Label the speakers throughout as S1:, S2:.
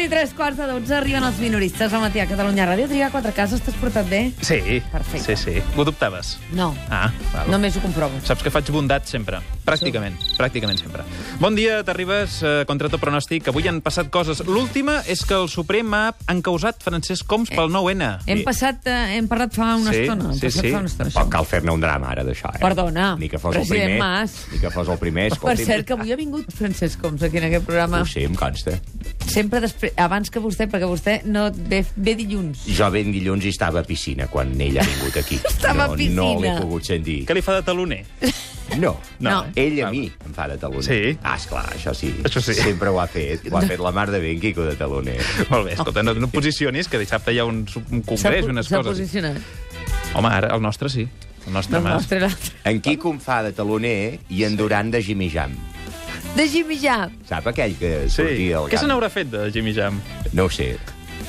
S1: i tres quarts de dotze arriben els minoristes al matí a Catalunya Ràdio. Triga quatre cases, t'has portat bé?
S2: Sí.
S1: Perfecte.
S2: Sí, sí. Ho dubtaves?
S1: No,
S2: Ah, val.
S1: només ho comprovo.
S2: Saps que faig bondat sempre, pràcticament, pràcticament sempre. Bon dia, t'arribes eh, contra tot pronòstic. Avui han passat coses. L'última és que el Suprem ha encausat Francesc Coms pel 9-N.
S1: Hem passat, eh, hem parlat fa una
S2: Sí,
S1: estona. hem
S2: sí,
S1: passat
S2: sí.
S1: Fa una estona
S3: Tampoc
S1: això.
S3: cal fer-ne un drama ara d'això, eh?
S1: Perdona,
S3: Ni que fos el
S1: president
S3: primer.
S1: Mas.
S3: Ni que fos el primer,
S1: Per
S3: escolti.
S1: cert, que avui ha vingut Francesc Homs aquí en aquest programa.
S3: Ho sé, em consta.
S1: Sempre després, abans que vostè, perquè vostè no ve, ve dilluns.
S3: Jo ben dilluns hi estava a piscina quan ell ha vingut aquí.
S1: Estava a
S3: no,
S1: piscina.
S3: No l'he pogut sentir.
S2: Què li fa de taloner?
S3: No.
S2: No.
S3: Ell a mi em fa de taloner.
S2: Sí.
S3: Ah, esclar, això sí.
S2: Això sí.
S3: Sempre ho ha fet. Ho ha fet la mar de ben Quico de taloner.
S2: Molt bé, escolta, no, no et posicionis, que dissabte hi ha un, un
S1: S'ha
S2: congrés,
S1: po-
S2: unes
S1: s'ha
S2: coses.
S1: posicionat.
S2: Home, ara el nostre sí. El nostre
S1: No,
S2: Mas.
S1: l'altre, l'altre.
S3: En Quico em fa de taloner i en Duran de Jimmy Jam.
S1: De Jimmy Jam.
S3: Sap aquell que
S2: Sí.
S3: sortia al
S2: Què se
S3: camp?
S2: n'haurà fet de Jimmy Jam?
S3: No ho sé.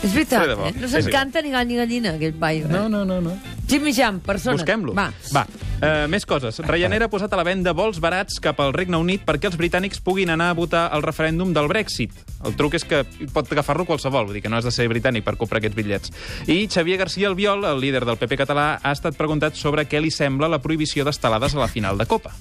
S1: És veritat,
S2: Fer de bo.
S1: eh? No
S2: Sí, sí.
S1: s'encanta ni gall ni gallina, aquell paio. Eh?
S2: no, no, no.
S1: Jimmy Jam, persona.
S2: Busquem-lo.
S1: Va.
S2: Va. Uh, més coses. Ryanair ha posat a la venda vols barats cap al Regne Unit perquè els britànics puguin anar a votar al referèndum del Brexit. El truc és que pot agafar-lo qualsevol, vull dir que no has de ser britànic per comprar aquests bitllets. I Xavier García Albiol, el líder del PP català, ha estat preguntat sobre què li sembla la prohibició d'estelades a la final de Copa.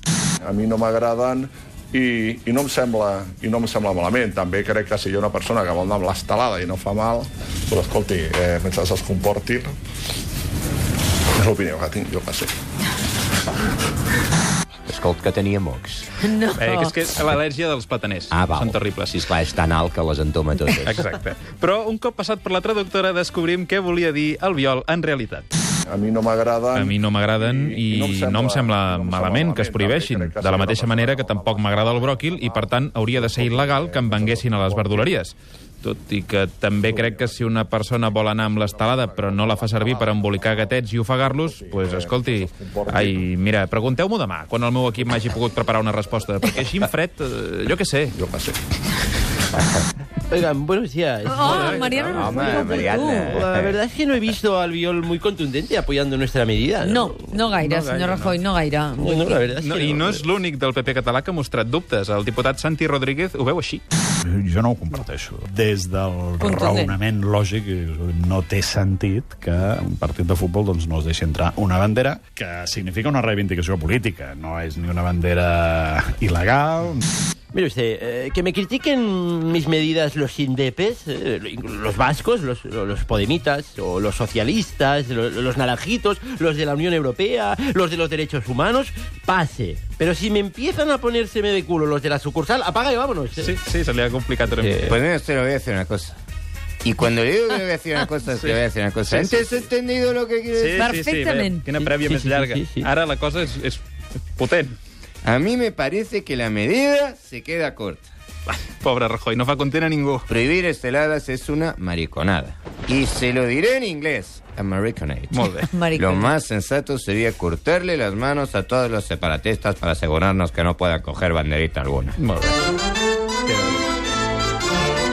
S4: a mi no m'agraden i, i, no em sembla, i no em sembla malament. També crec que si hi ha una persona que vol anar amb l'estelada i no fa mal, però escolti, eh, mentre se'ls comportin, és l'opinió que tinc, jo que sé.
S3: Escolta, que tenia mocs.
S1: No.
S2: Eh, que és que és l'al·lèrgia dels plataners.
S3: Ah, val.
S2: Són terribles.
S3: Sí, esclar, és tan alt que les entoma totes.
S2: Exacte. Però un cop passat per la traductora descobrim què volia dir el viol en realitat.
S4: A mi no m'agraden...
S5: A mi no m'agraden i, no em sembla malament que es prohibeixin,
S4: Crec que
S5: de la
S4: sí,
S5: mateixa
S4: no
S5: manera que
S4: passa res, no
S5: tampoc
S4: passa
S5: m'agrada el
S4: res,
S5: bròquil
S4: no
S5: i, per
S4: passa
S5: tant, hauria de ser il·legal que em venguessin a les verduleries. Tot i que també crec que si una persona vol anar amb l'estelada però no la fa servir per embolicar gatets i ofegar-los, doncs, pues, escolti... Ai, mira, pregunteu-m'ho demà, quan el meu equip m'hagi pogut preparar una resposta, perquè així en fred, eh, jo què sé.
S4: Jo que sé.
S6: Oigan, buenos días.
S1: Oh, Mariano no
S3: Home,
S1: no,
S3: Mariana.
S6: La verdad es que no he visto al Viol muy contundente apoyando nuestra medida.
S1: No, no gaire, no senyor Rajoy, no, gaire.
S6: Bueno, la verdad es que
S2: No, I no és l'únic del PP català que ha mostrat dubtes. El diputat Santi Rodríguez ho veu així.
S7: Jo no ho comparteixo. Des del
S1: Contundent.
S7: raonament lògic no té sentit que un partit de futbol doncs, no es deixi entrar una bandera que significa una reivindicació política. No és ni una bandera il·legal...
S6: Mire usted, eh, que me critiquen mis medidas los indepes, eh, los vascos, los, los podemitas, o los socialistas, lo- los, naranjitos, los de la Unión Europea, los de los derechos humanos, pase. Pero si me empiezan a ponérseme de culo los de la sucursal, apaga y vámonos. eh.
S2: Sí, sí, se li ha complicat una mica.
S3: Pues mira, te lo voy a decir una cosa. Y cuando le digo que voy a decir una cosa, te voy a decir una cosa.
S2: Sí, sí,
S3: ¿Antes has entendido lo que quiero decir?
S1: Perfectament.
S2: Sí, Quina prèvia
S6: Sí, sí,
S2: més
S6: sí,
S2: llarga.
S6: sí, sí.
S2: Ara la cosa és, és potent.
S3: A mí me parece que la medida se queda corta.
S2: Pobre Rajoy, no fa content a ningú.
S3: Prohibir esteladas es una mariconada. Y se lo diré en inglés. Americanate.
S2: Molt bé.
S3: Lo
S1: Mariano.
S3: más sensato sería cortarle las manos a todos los separatistas para asegurarnos que no puedan coger banderita alguna.
S2: Molt bé.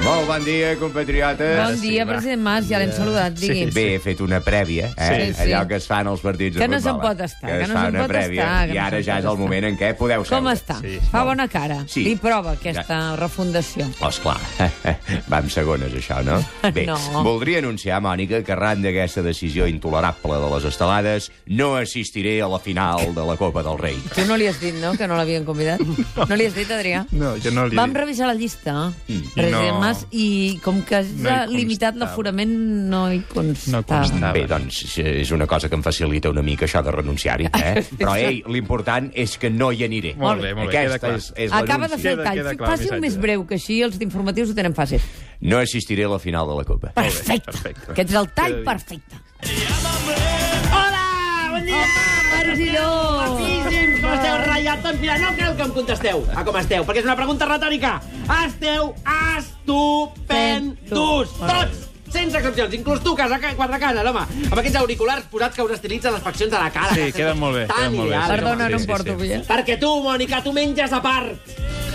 S3: Molt bon dia, compatriotes.
S1: Bon dia, president Mas, ja l'hem saludat, digui.
S3: Bé, he fet una prèvia,
S1: Sí,
S3: eh?
S1: sí.
S3: allò que es fan als partits
S1: Que
S3: de
S1: no se'n
S3: futbol. eh?
S1: pot estar, que
S3: es
S1: no
S3: fa
S1: se'n
S3: una
S1: pot
S3: prèvia,
S1: estar, que
S3: I
S1: no se'n
S3: ara ja
S1: pot
S3: és el
S1: estar.
S3: moment en què podeu seure.
S1: Com està?
S2: Sí,
S1: Fa bona cara.
S3: Sí.
S1: Li prova aquesta refundació.
S3: Oh, esclar. Va amb segones, això, no? Bé,
S1: No.
S3: voldria anunciar, Mònica, que arran d'aquesta decisió intolerable de les estelades, no assistiré a la final de la Copa del Rei.
S1: Tu no li has dit, no?, que no l'havien convidat? No. li has dit, Adrià?
S2: No, jo no li
S1: Vam
S2: dic.
S1: revisar la llista, president
S2: No.
S1: Mas, Mm. i com que has
S2: No hi
S1: limitat
S2: constava.
S1: l'aforament, no hi constava.
S2: No constava.
S3: Bé, doncs, és una cosa que em facilita una mica això de renunciar-hi, eh? Però, ei, l'important és que no hi aniré.
S2: Molt bé, molt bé, queda
S3: Aquesta
S2: clar.
S3: és, és
S1: Acaba de
S3: l'anunci.
S1: fer el
S2: Queda-
S1: tall.
S2: queda clar el
S1: Faci-ho
S2: missatge.
S1: més breu, que així els d'informatius ho tenen fàcil.
S3: No assistiré a la final de la Copa.
S1: Perfecte.
S2: perfecte.
S1: Aquest és el tall perfecte. Hola! Bon dia! Home, Margiló!
S8: Moltíssims que esteu ratllats. Doncs mira, no cal que em contesteu
S6: Ah,
S8: a com esteu, perquè és una pregunta retòrica. Esteu estupendos, tots!
S6: Sense excepcions, inclús tu, casa, ca- quatre cases, home. Amb aquests auriculars posats que us estilitzen les faccions de la cara.
S2: Sí,
S6: Que
S2: queden
S6: són
S2: molt bé,
S6: Tan
S2: queden molt bé,
S6: ideals,
S2: sí.
S6: home.
S1: Perdona,
S2: sí,
S1: no
S2: sí,
S1: em porto
S2: sí.
S1: avui, eh?
S6: Perquè tu, Mònica, tu menges a part.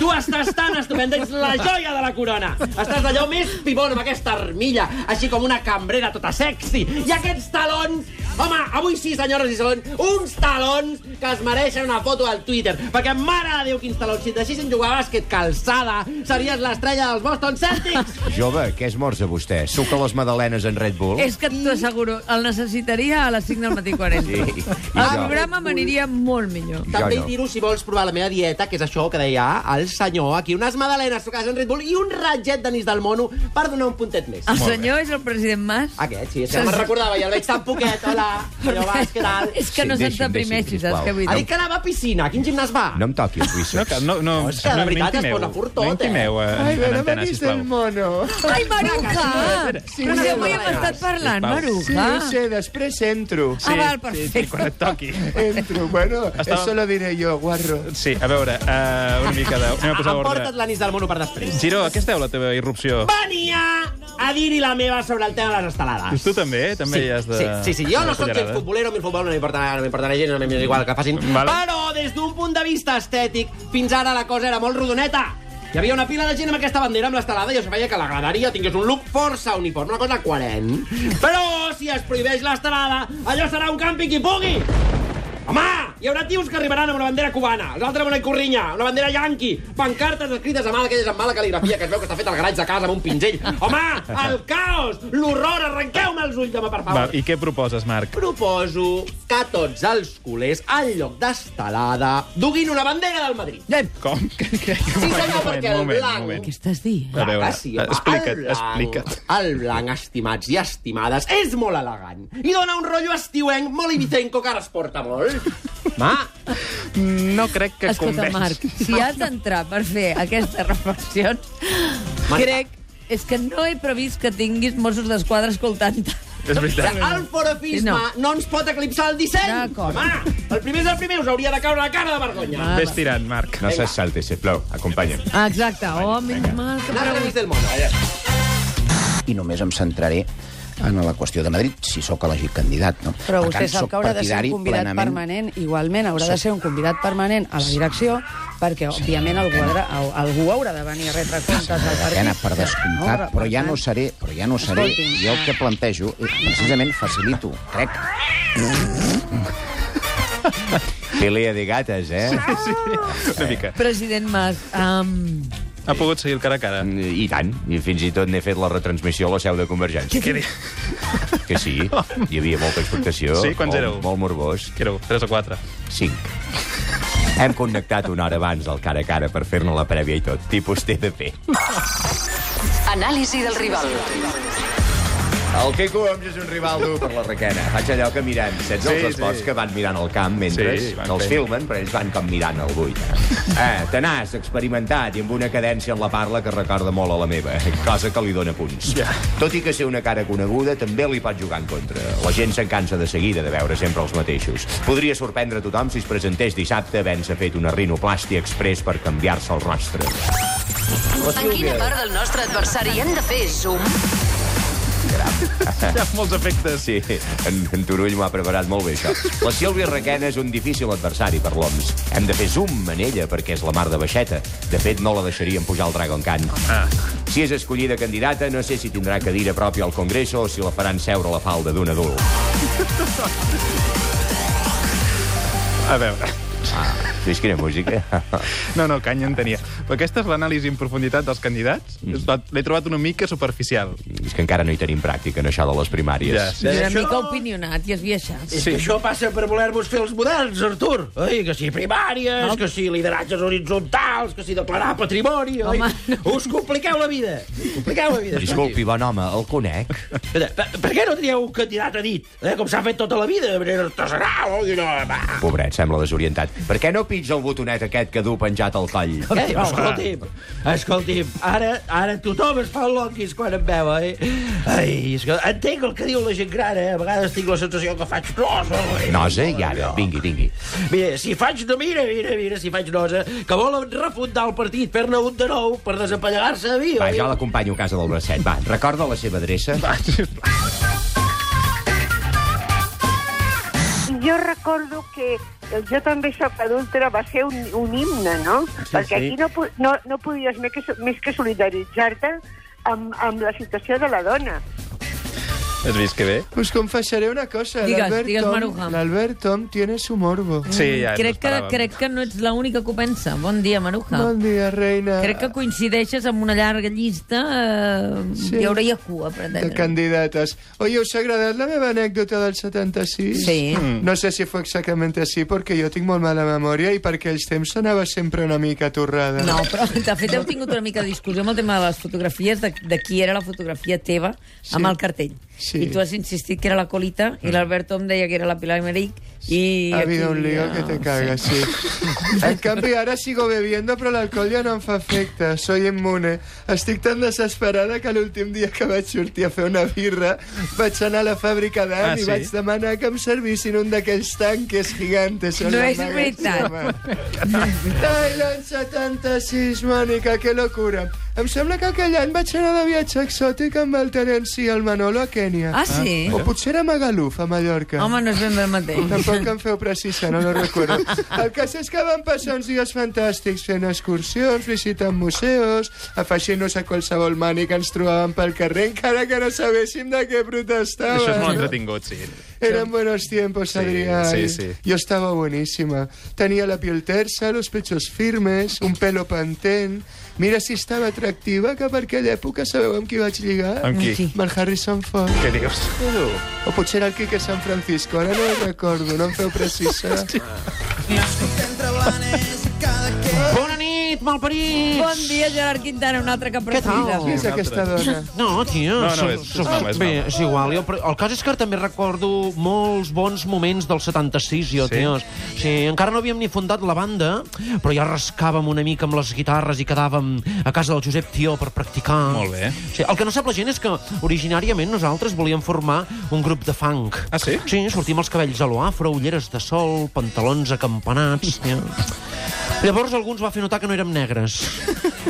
S6: Tu estàs tan estupenda, ets la joia de la corona. Estàs d'allò més pibon amb aquesta armilla, així com una cambrera tota sexy. I aquests talons... Home, avui sí, senyores i senyors, uns talons que es mereixen una foto al Twitter. Perquè, mare de Déu, quins talons. Si et deixessin jugar a bàsquet calçada, series l'estrella dels Boston Celtics.
S3: Jove, què esmorza vostè? Suca les magdalenes en Red Bull?
S1: És que t'ho asseguro, el necessitaria a les 5 del matí 40. El
S3: Sí, i jo.
S1: programa m'aniria molt millor.
S3: Jo
S6: També
S3: no.
S6: no. dir-ho si vols provar la meva dieta, que és això que deia el senyor. Aquí unes magdalenes sucades en Red Bull i un ratget d'anís del mono per donar un puntet més.
S1: El senyor és el president Mas?
S6: Aquest, sí, és que no me'n recordava, i el veig tan poquet. Hola, senyor Bas, què tal?
S1: És que
S3: Sí,
S1: no se'n
S3: deixi'm,
S1: deprimeixi,
S3: deixi'm,
S1: saps què vull
S6: Ha
S1: dir?
S6: dit que anava a piscina. A quin gimnàs va?
S3: No em toqui els
S2: No,
S3: bíceps.
S2: que- no, no,
S6: és que de
S2: no
S6: veritat es
S2: intimeu.
S6: posa furtot,
S2: no intimeu eh? en, en antena, sisplau.
S3: mono.
S1: Ai, Maruja! Però si avui hem estat parlant,
S2: Sisplau.
S1: Maruja!
S3: després entro.
S1: Ah, val,
S2: Sí, sí, quan
S1: perfecte.
S2: et toqui.
S3: Entro, bueno,
S2: Estava- eso
S3: lo diré jo, guarro.
S2: Sí, a veure, uh, una mica de... Anem a posar
S6: Emporta't
S2: ordre.
S6: l'anís del mono per després.
S2: Giró, a què esteu, la teva irrupció?
S6: Venia a dir-hi la meva sobre el tema de les estelades.
S2: Tu també, eh? També
S6: sí,
S2: hi has de...
S6: Sí, sí, sí. jo
S2: de
S6: no sóc gens
S2: cullerada.
S6: futbolero, a mi el futbol no m'importa no m'importa gens, no m'és igual el que facin.
S2: Vale.
S6: Però des d'un punt de vista estètic, fins ara la cosa era molt rodoneta. Hi havia una pila de gent amb aquesta bandera amb l'estelada i es veia que la graderia tingués un look força uniforme, una cosa coherent. Però si es prohibeix l'estelada, allò serà un campi qui pugui! Home, hi haurà tios que arribaran amb una bandera cubana, l'altra amb una corrinya, una bandera yanqui, pancartes escrites a mà, aquelles amb mala cal·ligrafia que es veu que està fet al garatge de casa amb un pinzell. Home, el caos, l'horror, arrenqueu-me els ulls, home, per favor
S2: Va, I què proposes, Marc?
S6: proposo que tots els culers, en lloc d'estelada, duguin una bandera del Madrid.
S1: Nen,
S2: Com? Sí,
S6: Sí, senyor, perquè el blanc...
S1: què estàs dient?
S2: A
S6: Clar
S2: veure,
S6: que sí, home,
S2: explica't,
S6: el blanc,
S2: explica't.
S6: El blanc, estimats i estimades, és molt elegant. I dona un rotllo estiuenc molt ibicenco que ara es porta molt. Ma,
S2: No crec que
S1: Escolta,
S2: convenç.
S1: Marc, si has d'entrar per fer aquestes reflexions,
S6: Marc.
S1: crec... És que no he previst que tinguis Mossos d'Esquadra escoltant-te.
S2: És veritat.
S6: el forofisme no.
S1: No.
S6: no ens pot eclipsar el disseny.
S1: D'acord.
S6: Home, el primer és el primer, us hauria de caure la cara de vergonya.
S1: Ah,
S2: Ves tirant, Marc.
S3: No se salte, sisplau. Acompanya'm.
S1: Ah, exacte. Oh, menys mal que...
S6: Anar a l'anís del món.
S9: i només em centraré en la qüestió de Madrid, si sóc elegit candidat. No?
S10: Però
S9: Per
S10: vostè
S9: tant,
S10: sap
S9: sóc
S10: que haurà de ser
S9: partidari
S10: un convidat
S9: plenament-
S10: permanent, igualment, haurà de ser un convidat permanent a la direcció, perquè, òbviament, algú, haurà, au- algú haurà de venir a retre comptes al
S9: Helena,
S10: partit.
S9: per descomptat, però ja no seré, però ja no seré.
S10: Escolti'm.
S9: Jo el que plantejo, eh, precisament facilito, crec.
S3: Pelea de gates, eh?
S2: Una mica.
S1: President Mas, um,
S2: Ha pogut seguir el cara a cara.
S3: I tant. I fins i tot n'he fet la retransmissió a la seu de Convergència.
S2: Què di-
S3: Que sí, hi havia molta expectació.
S2: Sí, quants
S3: molt-
S2: éreu?
S3: Molt morbós.
S2: què éreu? 3 o 4?
S3: Cinc. Hem connectat una hora abans al cara a cara per fer-ne la prèvia i tot. Tipus TDP.
S11: Anàlisi del rival.
S3: El Queco Homs és un rival dur per la requena. Faig allò que mirant. Saps
S2: Sí,
S3: els
S2: sí.
S3: esports que van mirant al camp mentre
S2: Sí, van
S3: els
S2: fent.
S3: filmen, però ells van com mirant al buit. Eh, tenaç, experimentat i amb una cadència en la parla que recorda molt a la meva, eh? cosa que li dona punts.
S2: Ja.
S3: Tot i que ser una cara coneguda també li pot jugar en contra. La gent se'n cansa de seguida de veure sempre els mateixos. Podria sorprendre tothom si es presentés dissabte havent-se fet una rinoplàstia express per canviar-se el rostre.
S11: En quina part del nostre adversari hem de fer zoom?
S2: Hi ha molts efectes.
S3: Sí, en, en Turull m'ha preparat molt bé, això. La Sílvia Requena és un difícil adversari per l'OMS. Hem de fer zoom en ella, perquè és la mar de baixeta. De fet, no la deixarien pujar al Dragon Khan. Ah. Si és escollida candidata, no sé si tindrà cadira pròpia al Congreso o si la faran seure a la falda d'un adult.
S2: A veure.
S3: Fes quina música.
S2: No, no, canya en tenia. Però aquesta és l'anàlisi en profunditat dels candidats. Mm. L'he trobat una mica superficial.
S3: és que encara no hi tenim pràctica, en això de les primàries.
S2: Ja, sí.
S1: és una mica opinionat i esbiaixat.
S6: És sí. que això passa per voler-vos fer els models, Artur. Ai, que si primàries, no. que si lideratges horitzontals, que si declarar patrimoni, oi?
S1: Home,
S6: Us compliqueu la vida. Compliqueu la vida.
S3: Disculpi, bon home, el conec.
S6: Espera, per, per què no trieu un candidat a dit? Eh, com s'ha fet tota la vida, de manera artesanal. Oi? No, va.
S3: Pobret, sembla desorientat. Per què no pitja el botonet aquest que du penjat al coll?
S6: Eh, escolti'm, escolti'm, ara, ara tothom es fa lonquis quan em veu, eh? Ai, escolta, entenc el que diu la gent gran, eh? A vegades tinc la sensació que faig nosa. Eh?
S3: Nosa, i ara, vingui, vingui.
S6: Mira, si faig... No, mira, mira, mira, si faig nosa, que volen refundar el partit, fer-ne un de nou per desempallegar-se a mi,
S3: Va,
S6: oi?
S3: jo l'acompanyo a casa del bracet, va. Recorda la seva adreça?
S12: Jo recordo que eh, el Jo també soc adúltera va ser un, un himne, no? Sí, Perquè
S6: sí.
S12: aquí no, po- no, no podies més que, so- més que solidaritzar-te amb, amb la situació de la dona.
S2: Has vist que bé?
S13: Us confessaré una cosa.
S1: Digues,
S13: l'Albert
S1: digues,
S13: Tom-
S1: Maruja.
S13: L'Albert Tom tiene su morbo.
S2: Sí, ja
S1: crec, que, crec que no ets l'única que ho pensa. Bon dia, Maruja.
S13: Bon dia, reina.
S1: Ah. Crec que coincideixes amb una llarga llista. Eh,
S13: Sí.
S1: Hi hauria cua, per
S13: de
S1: entendre.
S13: candidates. Oye, ¿os ha agradat la meva anècdota del 76?
S1: Sí.
S13: No sé si fue exactament així, perquè jo tinc molt mala memòria i perquè els temps sonava sempre una mica torrada.
S1: No, però de fet heu tingut una mica de discussió amb el tema de les fotografies, de, de qui era la fotografia teva sí. amb el cartell.
S13: Sí.
S1: I tu has insistit que era la Colita, i l'Alberto em deia que era la Pilar Emerick, i...
S13: Ha
S1: aquí
S13: habido un lío
S1: ja-
S13: que te cagas, sí. En canvi, ara sigo bebiendo, però l'alcohol ja no em fa efecte. Soy immune. Estic tan desesperada que l'últim dia que vaig sortir a fer una birra vaig anar a la fàbrica d'An
S2: Ah,
S13: ah,
S2: sí?
S13: i vaig demanar que em servissin un d'aquells tanques gigantes. on
S1: No
S13: em
S1: és veritat.
S13: magatzemen. Ai, l'any 76, Mònica, que locura. Em sembla que aquell any vaig anar de viatge exòtic amb el Terence i el Manolo a Kènia.
S1: Ah, sí?
S13: O potser era Magaluf, a Mallorca.
S1: Home, no és ben bé el mateix.
S13: Tampoc em feu precisa, no lo recordo. El cas és que vam passar uns dies fantàstics fent excursions, visitant museus, afegint-nos a qualsevol mani que ens trobàvem pel carrer, encara que no sabéssim de què protestàvem.
S2: Això és molt entretingut, sí.
S13: Eran buenos tiempos, Adrián.
S2: sí, sí.
S13: Yo estaba buenísima. Tenía la piel tersa, los pechos firmes, un pelo pantén. Mira si estava atractiva, que per aquella època sabeu amb qui vaig lligar?
S2: Amb qui?
S1: Sí.
S13: Amb el Harrison Ford.
S2: Què dius?
S13: O potser era el Quique San Francisco, ara no ho recordo, no em feu precisar.
S6: Bona nit, malparits!
S1: Bon dia, Gerard Quintana, un altre que
S13: Qui
S1: precisa.
S13: és aquesta dona?
S6: No, tio...
S2: No, no,
S6: som-
S2: és- és
S6: som-
S2: mama, és
S6: Bé,
S2: mama.
S6: és igual. Jo, però el cas és que també recordo molts bons moments del 76, jo,
S2: Sí?
S6: sí? tios. Sí, encara no havíem ni fundat la banda, però ja rascàvem una mica amb les guitarres i quedàvem a casa del Josep Tió per practicar.
S2: Molt bé.
S6: Sí, el que no sap la gent és que originàriament nosaltres volíem formar un grup de funk.
S2: Ah, sí?
S6: Sí, sortim els cabells a l'oafro, ulleres de sol, pantalons acampanats... Ja. Llavors alguns va fer notar que no érem negres,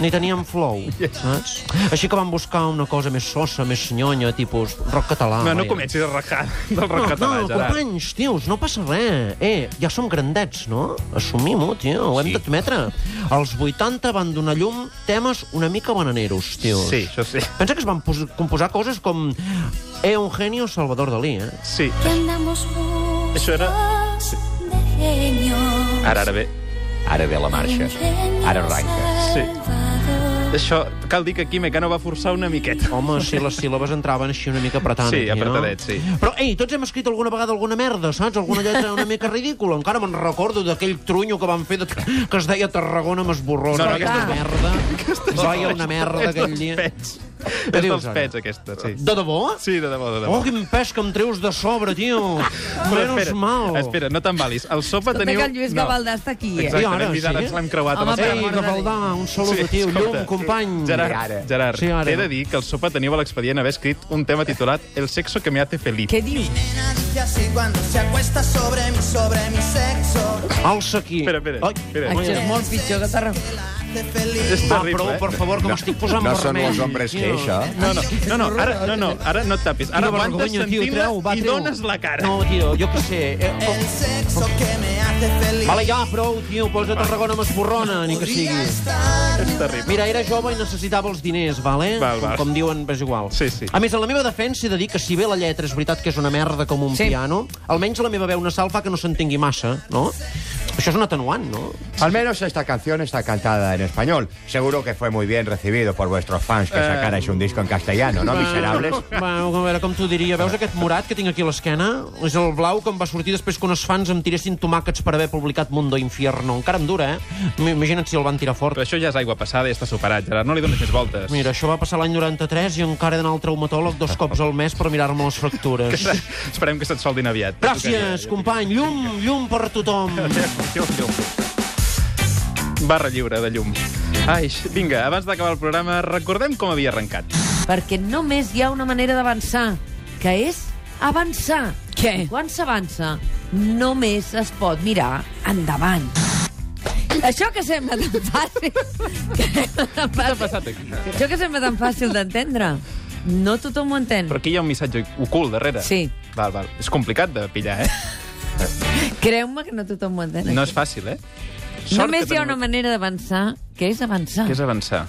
S6: ni teníem flow, saps? Així que vam buscar una cosa més sosa, més senyonya, tipus rock català.
S2: No, no
S6: vaja.
S2: comencis a rajar del rock
S6: No,
S2: català,
S6: no,
S2: Gerard.
S6: companys, tios, no passa res. Eh, ja som grandets, no? Assumim-ho, tio, ho hem
S2: Sí.
S6: d'admetre. Els 80 van donar llum temes una mica bananeros, tios.
S2: Sí, això sí.
S6: Pensa que es van pos- composar coses com E un genio Salvador Dalí, eh?
S2: Sí.
S11: Que andamos
S2: Això era... Ah, Ara, ara bé.
S3: Ara ve la marxa. Ara arranca.
S2: Sí. Això, cal dir que Quime Cano va forçar una miqueta.
S6: Home, si les síl·labes entraven així una mica apretant.
S2: Sí,
S6: aquí,
S2: apretadets,
S6: no?
S2: sí.
S6: Però, ei, tots hem escrit alguna vegada alguna merda, saps? Alguna lletra una mica ridícula. Encara me'n recordo d'aquell trunyo que van fer de... que es deia Tarragona
S2: No,
S6: Masborrona.
S2: no,
S6: aquesta
S2: aquesta-
S6: merda. Vaja, una merda
S2: És
S6: aquell
S2: dels
S6: dia.
S2: pets.
S6: Què
S2: És
S6: dius,
S2: dels
S6: ara?
S2: pets, aquesta, sí.
S6: De debò?
S2: Sí, de debò, de debò.
S6: Oh, quin pes que em treus de sobre, tio.
S2: Però
S6: Menos mal.
S2: Espera, no t'embalis. Al sopa
S1: Escolta,
S2: teniu...
S1: que el Lluís
S2: no.
S1: Gavaldà està aquí, eh?
S2: Exacte,
S6: I ara,
S2: l'hem vist, ara
S6: sí?
S2: ens l'hem creuat.
S1: Home,
S2: amb el
S1: per
S2: Gerard.
S6: Ei,
S1: amor de
S6: Gavaldà, un saludo,
S2: Sí,
S6: tio.
S2: escolta.
S6: Llum, company.
S2: Gerard,
S3: Ara.
S2: Gerard,
S6: Sí, ara.
S2: t'he de dir que al sopa teniu a l'expedient haver escrit un tema titulat El sexo que me hace feliz.
S1: Què dius?
S6: Alça aquí.
S2: Espera, espera,
S6: Ai,
S2: espera.
S6: ai,
S1: Això és molt pitjor que Tarragona.
S2: És
S6: Va,
S2: terrible,
S6: prou,
S2: eh?
S6: Ah, per favor, que m'estic posant
S3: No són
S6: vermell.
S3: els homes que,
S6: tio.
S3: això.
S2: No, no, no, no, ara, no, no, ara no et tapis. Ara
S6: Quina
S2: aguantes
S6: vergonya, tio,
S2: sentint-la
S6: treu, va,
S2: i
S6: treu.
S2: dones la cara.
S6: No, tio, jo què sé. Eh, oh. Vale, ja, prou, tio, posa Tarragona Masborrona, ni que sigui.
S2: És terrible.
S6: Mira, era jove i necessitava els diners, vale?
S2: Val, val.
S6: Com, com diuen, és igual.
S2: Sí, sí.
S6: A més, en la meva defensa he de dir que si bé la lletra és veritat que és una merda com un
S1: Sí.
S6: piano, almenys la meva veu nasal fa que no s'entengui massa, no? Això és un atenuant, no?
S3: Al menos esta canción está cantada en español. Seguro que fue muy bien recibido por vuestros fans
S2: Eh.
S3: que sacarais un disco en castellano, ¿no, miserables?
S6: Bueno, a veure, com t'ho diria, veus aquest morat que tinc aquí a l'esquena? És el blau que em va sortir després que unes fans em tiressin tomàquets per haver publicat Mundo Infierno. Encara em dura, eh? M- Imagina't si el van tirar fort.
S2: Però això ja és aigua passada i està superat, Gerard. No li dones més voltes.
S6: Mira, això va passar l'any 93 i encara he d'anar al traumatòleg dos cops al mes per mirar-me les fractures.
S2: Esperem que se't soldin aviat.
S6: Gràcies, company. Llum, llum per tothom.
S2: Llum, llum. Barra lliure de llum. Ai, vinga, abans d'acabar el programa, recordem com havia arrencat.
S1: Perquè només hi ha una manera d'avançar, que és avançar. Què? Quan s'avança, només es pot mirar endavant. Això que sembla tan fàcil... que sembla tan fàcil-
S2: passat aquí?
S1: Això que sembla tan fàcil d'entendre, no tothom ho entén.
S2: Però aquí hi ha un missatge ocult darrere.
S1: Sí.
S2: Val, val. És complicat de pillar, eh?
S1: Creu-me que no tothom ho entén.
S2: No és fàcil, eh? Sort
S1: Només
S2: que
S1: hi ha
S2: tenim-
S1: una manera d'avançar, que és avançar.
S2: Que és avançar.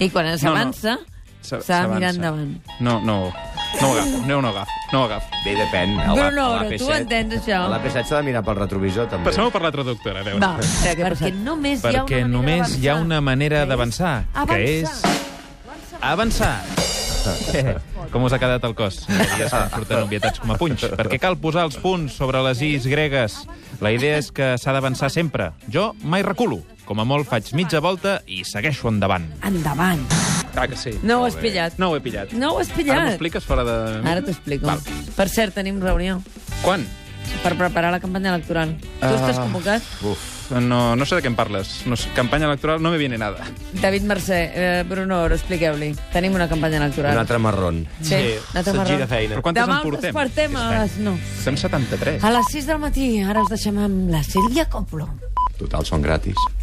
S1: I quan
S2: No, no.
S1: s'avança,
S2: S'ha-
S1: s'ha de
S2: s'avança.
S1: mirar endavant.
S2: No, no, no ho agafo, no, no ho agafo, no ho agafo.
S3: Bé, depèn. A la-
S1: Bruno,
S3: a
S1: però tu
S3: l'AP7.
S1: entens això?
S3: A l'AP7 s'ha de mirar pel retrovisor, també.
S2: Passem-ho per la traductora, adéu.
S1: Va, perquè només hi ha
S5: Perquè
S1: una manera
S5: només hi ha
S1: d'avançar.
S5: una manera d'avançar, que és... Avançar! Eh, Com us ha quedat el cos? Ja estan sortint obvietats com a punys. Perquè cal posar els punts sobre les is gregues. La idea és que s'ha d'avançar sempre. Jo mai reculo. Com a molt faig mitja volta i segueixo endavant.
S1: Endavant.
S2: Clar Ah, que sí.
S1: No ho
S2: Molt
S1: has
S2: bé.
S1: pillat.
S2: No ho he pillat.
S1: No ho has
S2: Ara m'ho
S1: pillat.
S2: expliques fora de...
S1: Ara t'ho explico.
S2: Val.
S1: Per cert, tenim reunió
S2: Quan?
S1: per preparar la campanya electoral. Tu
S2: Ah.
S1: estàs convocat?
S2: Uf, no, no sé de què em parles. No sé, campanya electoral no me viene nada.
S1: David Mercè, eh, Bruno, Oro, expliqueu-li. Tenim una campanya electoral.
S3: Un altre marrón.
S1: Sí, una altra marró.
S2: Però quantes
S1: Demà
S2: en
S1: us
S2: portem?
S1: despertem a les 9.
S2: Som 73.
S1: A les 6 del matí, ara els deixem amb la Sílvia Coppola.
S3: Total, són gratis.